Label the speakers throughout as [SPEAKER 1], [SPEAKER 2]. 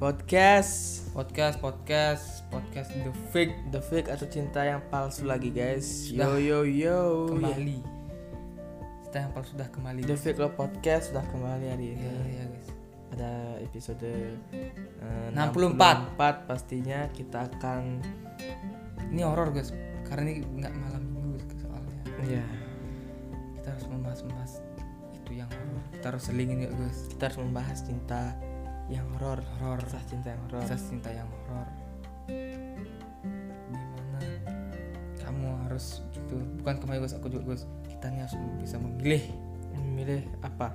[SPEAKER 1] podcast
[SPEAKER 2] podcast podcast podcast the fake
[SPEAKER 1] The Fake atau cinta yang palsu lagi guys. Yo
[SPEAKER 2] Sudah.
[SPEAKER 1] yo yo.
[SPEAKER 2] kembali kita yang palsu sudah kembali
[SPEAKER 1] Oh, iya. The Fake Love Podcast sudah kembali hari ini.
[SPEAKER 2] ya, ya guys
[SPEAKER 1] Ada episode eh,
[SPEAKER 2] 64.
[SPEAKER 1] 64 pastinya kita akan
[SPEAKER 2] ini horor guys karena ini nggak malam minggu guys, soalnya
[SPEAKER 1] ya
[SPEAKER 2] kita harus membahas membahas itu yang horor kita harus selingin ya guys
[SPEAKER 1] kita harus membahas cinta yang horor,
[SPEAKER 2] Horor.
[SPEAKER 1] kisah cinta yang horor.
[SPEAKER 2] kita cinta yang horor dimana kamu harus gitu bukan kamu ya guys aku juga guys kita nih harus bisa memilih
[SPEAKER 1] Memilih apa?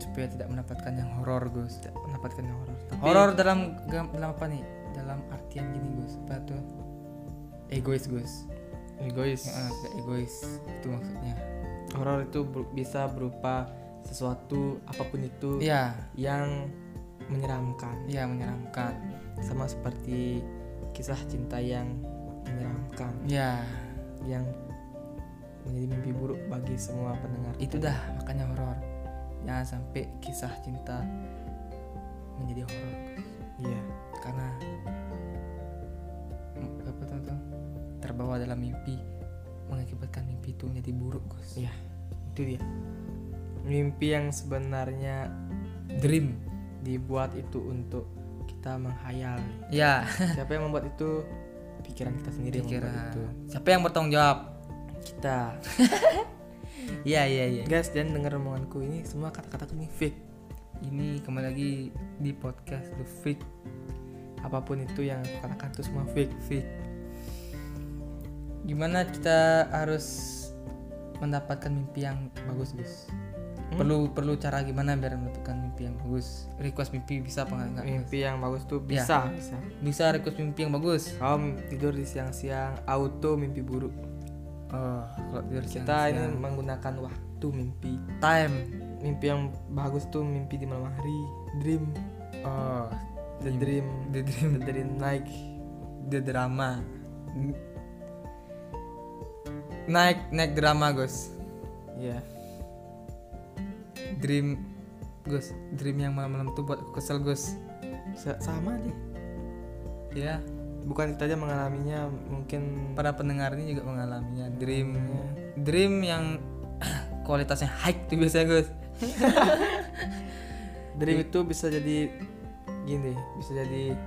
[SPEAKER 2] supaya tidak mendapatkan yang horor guys
[SPEAKER 1] Tidak mendapatkan yang horor. Tapi-
[SPEAKER 2] Horor dalam gam- dalam apa nih? Dalam artian gini Gus, apa tuh? Egois Gus.
[SPEAKER 1] egois.
[SPEAKER 2] Heeh, tidak egois itu maksudnya.
[SPEAKER 1] Horor itu ber- bisa berupa sesuatu apapun itu
[SPEAKER 2] Iya,
[SPEAKER 1] yang menyeramkan.
[SPEAKER 2] iya menyeramkan.
[SPEAKER 1] sama seperti kisah cinta yang menyeramkan
[SPEAKER 2] Iya,
[SPEAKER 1] yang menjadi mimpi buruk bagi semua pendengar
[SPEAKER 2] itu dah makanya horor. Jangan sampai kisah cinta menjadi horor
[SPEAKER 1] iya
[SPEAKER 2] karena mm, apa tuh tuh? terbawa dalam mimpi mengakibatkan mimpi itu menjadi buruk Gus.
[SPEAKER 1] Iya. itu dia mimpi yang sebenarnya
[SPEAKER 2] Dream.
[SPEAKER 1] dibuat itu untuk kita menghayal
[SPEAKER 2] Ya,
[SPEAKER 1] siapa yang membuat itu pikiran kita sendiri yang membuat
[SPEAKER 2] pikiran.
[SPEAKER 1] itu
[SPEAKER 2] Siapa yang bertanggung jawab?
[SPEAKER 1] kita
[SPEAKER 2] Iya, iya, iya.
[SPEAKER 1] guys dan dengar omonganku ini semua kata-kataku ini fake
[SPEAKER 2] ini kembali lagi di podcast The Fake
[SPEAKER 1] apapun itu yang aku katakan itu semua fake
[SPEAKER 2] Fake. Gimana kita harus mendapatkan mimpi yang bagus, Gus?
[SPEAKER 1] Hmm?
[SPEAKER 2] Perlu perlu cara gimana biar mendapatkan mimpi yang bagus? Request mimpi bisa apa enggak?
[SPEAKER 1] mimpi yang bagus tuh
[SPEAKER 2] Iya.
[SPEAKER 1] bisa bisa
[SPEAKER 2] Bisa request mimpi yang bagus.
[SPEAKER 1] kau tidur di siang-siang auto mimpi buruk
[SPEAKER 2] Oh, kalau tidur siang,
[SPEAKER 1] kita ini menggunakan waktu mimpi
[SPEAKER 2] time.
[SPEAKER 1] mimpi yang bagus tuh mimpi di malam hari dream
[SPEAKER 2] Oh,
[SPEAKER 1] the dream
[SPEAKER 2] the dream
[SPEAKER 1] the dream naik
[SPEAKER 2] the drama. Naik naik drama, Gus. Iya.
[SPEAKER 1] ya
[SPEAKER 2] Dream Gus, dream yang malam-malam tuh buat aku kesel Gus
[SPEAKER 1] Sa- sama deh
[SPEAKER 2] Ya,
[SPEAKER 1] bukan kita aja mengalaminya mungkin
[SPEAKER 2] para pendengar ini juga mengalaminya Dream Dream yang kualitasnya high tuh biasanya Gus Iya.
[SPEAKER 1] dream itu bisa jadi gini bisa jadi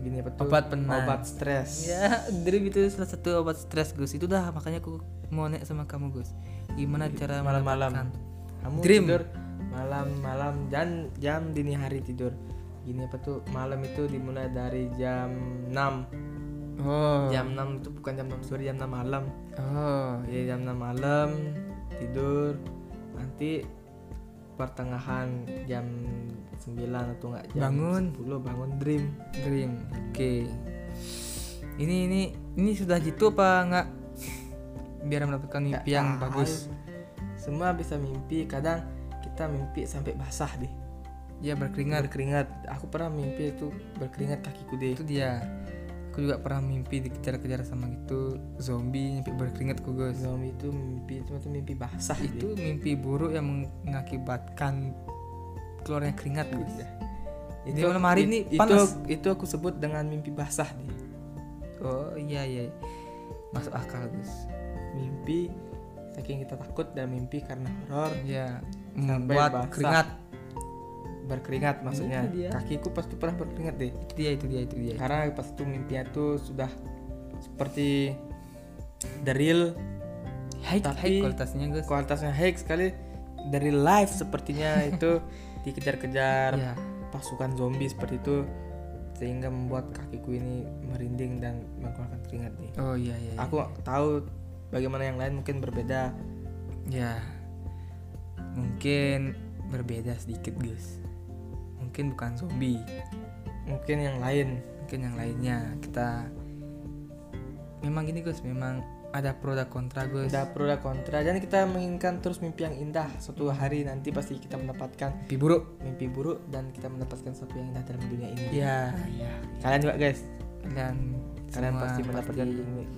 [SPEAKER 1] gini apa tuh?
[SPEAKER 2] Obat penat.
[SPEAKER 1] obat stres
[SPEAKER 2] Ya, dream itu salah satu obat stres Gus Itu dah makanya aku mau naik sama kamu Gus Gimana Nah, cara
[SPEAKER 1] Gitu. Malam-malam.
[SPEAKER 2] mendapatkan?
[SPEAKER 1] kamu
[SPEAKER 2] Dream.
[SPEAKER 1] tidur malam-malam jangan jam dini hari tidur gini apa tuh malam itu dimulai dari jam 6
[SPEAKER 2] Oh
[SPEAKER 1] jam 6 itu bukan jam 6 sore jam 6 malam
[SPEAKER 2] Oh
[SPEAKER 1] Jadi jam 6 malam tidur nanti pertengahan jam 9 atau enggak jam
[SPEAKER 2] Bangun.
[SPEAKER 1] 10 bangun dream
[SPEAKER 2] Dream Oke Ini ini ini sudah gitu apa enggak? Biar mendapatkan mimpi yang
[SPEAKER 1] Ah,
[SPEAKER 2] bagus
[SPEAKER 1] semua bisa mimpi kadang kita mimpi sampai basah deh
[SPEAKER 2] Ya berkeringat
[SPEAKER 1] berkeringat aku pernah mimpi itu berkeringat kakiku deh
[SPEAKER 2] itu dia aku juga pernah mimpi dikejar-kejar sama gitu zombie mimpi berkeringat ku guys
[SPEAKER 1] zombie itu mimpi cuma itu mimpi basah deh.
[SPEAKER 2] itu mimpi buruk yang mengakibatkan keluarnya keringat guys
[SPEAKER 1] Iya.
[SPEAKER 2] Di malam hari
[SPEAKER 1] it-
[SPEAKER 2] ini
[SPEAKER 1] itu
[SPEAKER 2] panas.
[SPEAKER 1] itu aku sebut dengan mimpi basah deh
[SPEAKER 2] oh iya iya masuk akal guys
[SPEAKER 1] mimpi saking kita takut dan mimpi karena horor
[SPEAKER 2] ya
[SPEAKER 1] Sampai basah.
[SPEAKER 2] membuat keringat
[SPEAKER 1] berkeringat maksudnya
[SPEAKER 2] Iya, Itu dia. Iya.
[SPEAKER 1] kakiku pasti pernah berkeringat deh
[SPEAKER 2] itu dia itu dia itu dia
[SPEAKER 1] karena pas itu mimpinya tuh sudah seperti the real
[SPEAKER 2] high,
[SPEAKER 1] Tapi-
[SPEAKER 2] high kualitasnya guys
[SPEAKER 1] kualitasnya high sekali dari live sepertinya itu dikejar-kejar
[SPEAKER 2] ya
[SPEAKER 1] pasukan zombie seperti itu sehingga membuat kakiku ini merinding dan mengeluarkan keringat nih
[SPEAKER 2] oh iya iya iya.
[SPEAKER 1] aku tahu bagaimana yang lain mungkin berbeda
[SPEAKER 2] ya mungkin berbeda sedikit guys mungkin bukan zombie
[SPEAKER 1] mungkin yang lain
[SPEAKER 2] mungkin yang lainnya kita memang gini Gus memang ada pro dan kontra Gus
[SPEAKER 1] ada pro dan kontra dan kita menginginkan terus mimpi yang indah suatu hari nanti pasti kita mendapatkan
[SPEAKER 2] mimpi buruk
[SPEAKER 1] mimpi buruk dan kita mendapatkan sesuatu yang indah dalam dunia ini
[SPEAKER 2] ya ya
[SPEAKER 1] kalian juga guys
[SPEAKER 2] dan
[SPEAKER 1] kalian
[SPEAKER 2] semua
[SPEAKER 1] pasti mendapatkan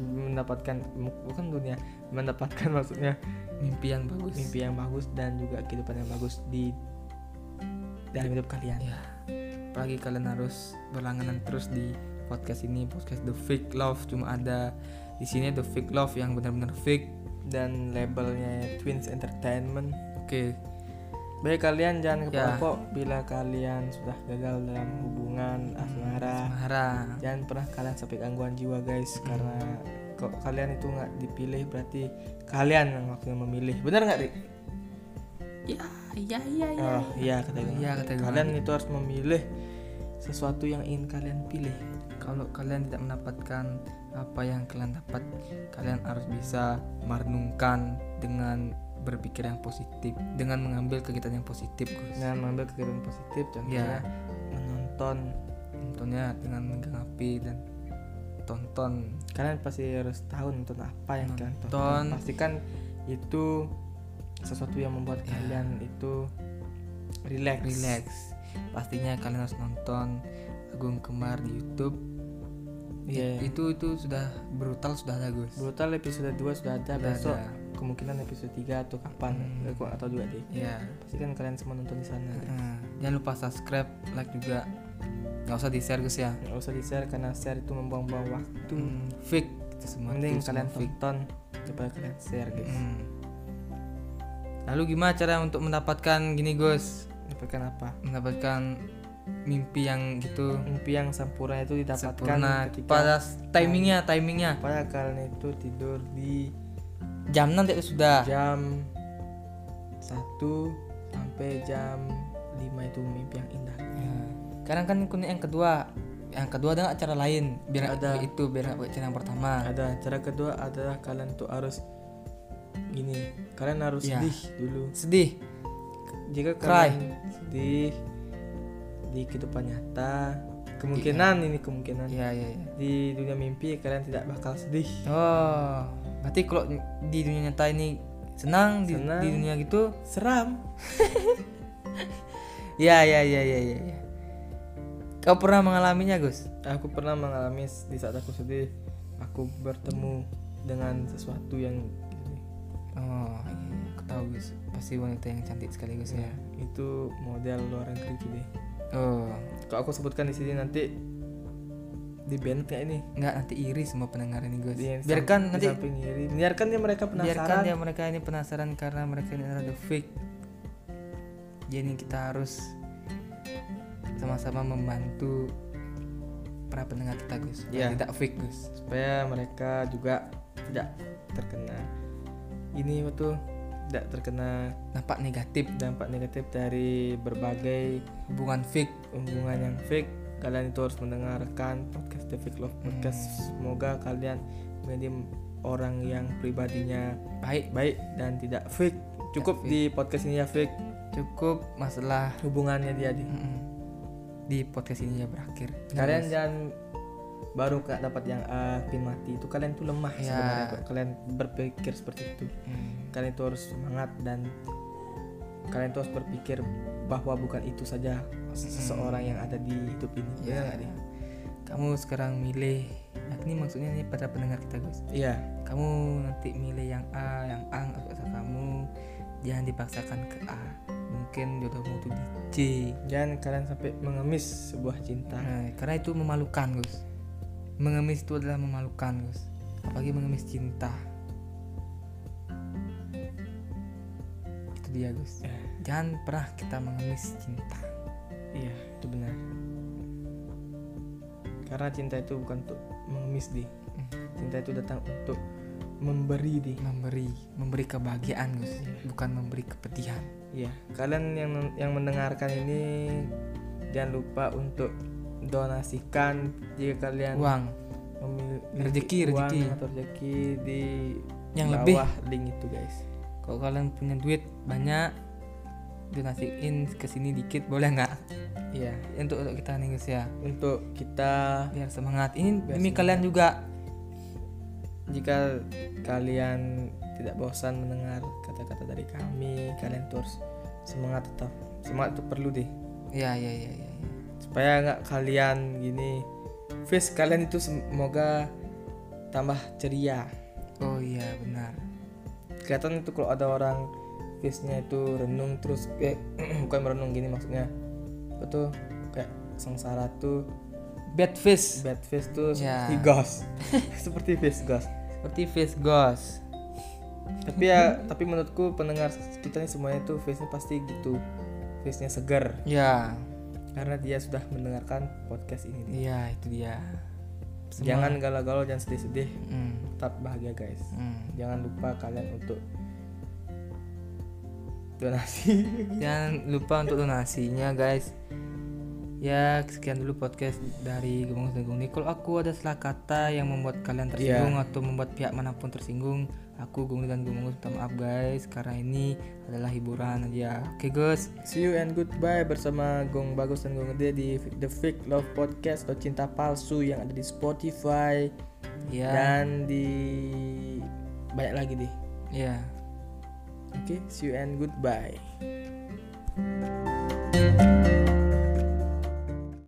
[SPEAKER 1] mendapatkan bukan dunia mendapatkan maksudnya
[SPEAKER 2] mimpi yang bagus
[SPEAKER 1] mimpi yang bagus dan juga kehidupan yang bagus di dalam hidup kalian
[SPEAKER 2] ya apalagi kalian harus berlangganan terus di podcast ini podcast The Fake Love cuma ada di sini The Fake Love yang benar-benar fake
[SPEAKER 1] dan labelnya Twins Entertainment.
[SPEAKER 2] oke
[SPEAKER 1] Baik kalian jangan
[SPEAKER 2] Ya.
[SPEAKER 1] kepopok bila kalian sudah gagal dalam hubungan asmara.
[SPEAKER 2] Samara
[SPEAKER 1] Jangan pernah kalian sampai gangguan jiwa guys karena kok kalian itu nggak dipilih berarti kalian yang waktunya memilih. Bener nggak Rik?
[SPEAKER 2] Iya. ya ya ya ya
[SPEAKER 1] Oh iya kata gue.
[SPEAKER 2] Iya, kata gue.
[SPEAKER 1] Kalian itu harus memilih sesuatu yang ingin kalian pilih.
[SPEAKER 2] kalau kalian tidak mendapatkan apa yang kalian dapat kalian harus bisa merenungkan dengan berpikir yang positif dengan mengambil kegiatan yang positif guys
[SPEAKER 1] Dengan mengambil kegiatan positif contohnya
[SPEAKER 2] Ya.
[SPEAKER 1] menonton.
[SPEAKER 2] tentunya dengan megang api dan tonton
[SPEAKER 1] Kalian pasti harus tahu nonton apa yang kalian tonton.
[SPEAKER 2] Nonton.
[SPEAKER 1] Pastikan itu sesuatu yang membuat
[SPEAKER 2] Ya.
[SPEAKER 1] kalian itu relax.
[SPEAKER 2] relax pastinya kalian harus nonton Agung Kemar di YouTube
[SPEAKER 1] Iya.
[SPEAKER 2] itu itu sudah brutal sudah ada guys
[SPEAKER 1] Brutal episode 2 sudah ada
[SPEAKER 2] Sudah
[SPEAKER 1] besok
[SPEAKER 2] ada.
[SPEAKER 1] kemungkinan episode 3 atau kapan
[SPEAKER 2] Hmm.
[SPEAKER 1] aku atau juga deh
[SPEAKER 2] ya
[SPEAKER 1] pastikan kalian semua nonton di sana
[SPEAKER 2] Nah, jangan lupa subscribe like juga nggak usah di share guys ya
[SPEAKER 1] nggak usah di share karena share itu membuang-buang waktu
[SPEAKER 2] Hmm, fake itu semua
[SPEAKER 1] mending
[SPEAKER 2] itu semua
[SPEAKER 1] kalian
[SPEAKER 2] fake.
[SPEAKER 1] tonton daripada kalian share guys
[SPEAKER 2] Hmm. Lalu gimana cara untuk mendapatkan gini Gus?
[SPEAKER 1] dapatkan apa
[SPEAKER 2] Mendapatkan mimpi yang gitu
[SPEAKER 1] mimpi yang sempurna itu didapatkan
[SPEAKER 2] sempurna
[SPEAKER 1] ketika
[SPEAKER 2] pada timingnya timingnya
[SPEAKER 1] pada kalian itu tidur di
[SPEAKER 2] jam 6 itu sudah
[SPEAKER 1] jam 1 sampai jam 5 itu mimpi yang indah
[SPEAKER 2] Ya. Sekarang kan kuning yang kedua yang kedua ada nggak cara lain biar
[SPEAKER 1] Ada.
[SPEAKER 2] ada itu biar nggak pakai cara yang pertama
[SPEAKER 1] ada cara kedua adalah kalian tuh harus gini kalian harus
[SPEAKER 2] Ya.
[SPEAKER 1] sedih dulu
[SPEAKER 2] sedih
[SPEAKER 1] jika
[SPEAKER 2] Cry.
[SPEAKER 1] kalian sedih di kehidupan nyata kemungkinan ini kemungkinan
[SPEAKER 2] ya ya ya
[SPEAKER 1] di dunia mimpi kalian tidak bakal sedih
[SPEAKER 2] oh berarti kalau di dunia nyata ini senang, di-
[SPEAKER 1] Senang.
[SPEAKER 2] Di, dunia gitu
[SPEAKER 1] seram
[SPEAKER 2] ya ya ya ya ya ya. kau pernah mengalaminya Gus
[SPEAKER 1] aku pernah mengalami s- di saat aku sedih aku bertemu dengan sesuatu yang gini.
[SPEAKER 2] Oh, iya, aku tahu Gus. Pasti wanita yang cantik sekali Gus
[SPEAKER 1] Iya.
[SPEAKER 2] ya.
[SPEAKER 1] itu model luar negeri gitu deh
[SPEAKER 2] Oh,
[SPEAKER 1] kalau aku sebutkan di sini nanti di band kayak ini
[SPEAKER 2] nggak nanti iri semua pendengar ini Gus.
[SPEAKER 1] Di sam-
[SPEAKER 2] biarkan
[SPEAKER 1] di
[SPEAKER 2] nanti
[SPEAKER 1] samping kiri. biarkan dia mereka
[SPEAKER 2] biarkan
[SPEAKER 1] penasaran
[SPEAKER 2] dia mereka ini penasaran karena mereka ini adalah the fake. Jadi kita harus sama-sama membantu para pendengar kita Gus. Biar
[SPEAKER 1] Iya.
[SPEAKER 2] Tidak fake Gus.
[SPEAKER 1] supaya mereka juga tidak terkena ini betul tidak terkena
[SPEAKER 2] Nampak negatif
[SPEAKER 1] dampak negatif dari berbagai
[SPEAKER 2] hubungan fake.
[SPEAKER 1] hubungan yang fake kalian itu harus mendengarkan podcast The Fake Love Podcast
[SPEAKER 2] Hmm.
[SPEAKER 1] semoga kalian menjadi orang yang pribadinya
[SPEAKER 2] Baik,
[SPEAKER 1] baik dan tidak fake cukup
[SPEAKER 2] fake.
[SPEAKER 1] di podcast ini ya fake
[SPEAKER 2] cukup masalah
[SPEAKER 1] hubungannya dia di
[SPEAKER 2] mm-mm, di podcast ini ya berakhir.
[SPEAKER 1] kalian
[SPEAKER 2] Gus.
[SPEAKER 1] jangan baru nggak dapat yang A pin mati itu kalian tuh lemah
[SPEAKER 2] Ya.
[SPEAKER 1] sebenarnya kok. kalian berpikir seperti itu
[SPEAKER 2] Hmm.
[SPEAKER 1] kalian itu harus semangat dan kalian itu harus berpikir bahwa bukan itu saja
[SPEAKER 2] Hmm.
[SPEAKER 1] seseorang yang ada di hidup ini Benar
[SPEAKER 2] Ya,
[SPEAKER 1] nggak, Di?
[SPEAKER 2] kamu sekarang milih. Nah, ini maksudnya ini pada pendengar kita guys.
[SPEAKER 1] iya
[SPEAKER 2] Kamu nanti milih yang A, yang A nggak suka sama kamu. Jangan dipaksakan ke A. Mungkin jodohmu tuh di C.
[SPEAKER 1] jangan kalian sampai mengemis sebuah cinta
[SPEAKER 2] Nah, karena itu memalukan guys. Mengemis itu adalah memalukan guys. Apalagi mengemis cinta. Itu dia guys.
[SPEAKER 1] Ya.
[SPEAKER 2] Jangan pernah kita mengemis cinta.
[SPEAKER 1] iya itu benar karena cinta itu bukan untuk mengemis di
[SPEAKER 2] Hmm.
[SPEAKER 1] cinta itu datang untuk memberi di
[SPEAKER 2] Memberi, memberi kebahagiaan guys, bukan memberi kepedihan.
[SPEAKER 1] Iya, kalian yang yang mendengarkan ini jangan lupa untuk donasikan jika kalian
[SPEAKER 2] Uang.
[SPEAKER 1] memiliki
[SPEAKER 2] Rezeki,
[SPEAKER 1] uang
[SPEAKER 2] rezeki.
[SPEAKER 1] atau rezeki di
[SPEAKER 2] Yang
[SPEAKER 1] bawah link itu guys.
[SPEAKER 2] kalau kalian punya duit banyak donasiin ke sini dikit boleh nggak
[SPEAKER 1] Iya,
[SPEAKER 2] untuk untuk kita nih guys ya
[SPEAKER 1] untuk kita
[SPEAKER 2] biar semangat ini
[SPEAKER 1] Biar
[SPEAKER 2] demi
[SPEAKER 1] semangat.
[SPEAKER 2] kalian juga
[SPEAKER 1] jika kalian tidak bosan mendengar kata-kata dari kami, kalian terus semangat tetap. Semangat itu perlu deh.
[SPEAKER 2] ya ya ya ya, ya.
[SPEAKER 1] Supaya nggak kalian gini. Face kalian itu semoga tambah ceria.
[SPEAKER 2] oh iya benar
[SPEAKER 1] kelihatan itu kalau ada orang eh, face-nya itu renung terus kayak bukan merenung gini maksudnya betul kayak sengsara tuh
[SPEAKER 2] bad fish
[SPEAKER 1] bad face tuh
[SPEAKER 2] Ya.
[SPEAKER 1] seperti ghost seperti face ghost
[SPEAKER 2] seperti fish ghost
[SPEAKER 1] tapi ya tapi menurutku pendengar kita nih semuanya tuh face nya pasti gitu face nya segar
[SPEAKER 2] ya
[SPEAKER 1] karena dia sudah mendengarkan podcast ini
[SPEAKER 2] iya itu dia
[SPEAKER 1] jangan galau-galau jangan sedih-sedih
[SPEAKER 2] Mm,
[SPEAKER 1] tetap bahagia guys
[SPEAKER 2] mm.
[SPEAKER 1] jangan lupa kalian untuk donasi
[SPEAKER 2] jangan lupa untuk donasinya guys ya sekian dulu podcast dari Gembong Tegung ini kalau aku ada salah kata yang membuat kalian tersinggung atau membuat pihak manapun tersinggung aku Gung dan Gembong minta maaf guys karena ini adalah hiburan aja oke guys
[SPEAKER 1] see you and goodbye bersama Gong Bagus dan Gong Gede di The Fake Love Podcast atau Cinta Palsu yang ada di Spotify
[SPEAKER 2] ya
[SPEAKER 1] dan di banyak lagi deh
[SPEAKER 2] ya
[SPEAKER 1] oke see you and goodbye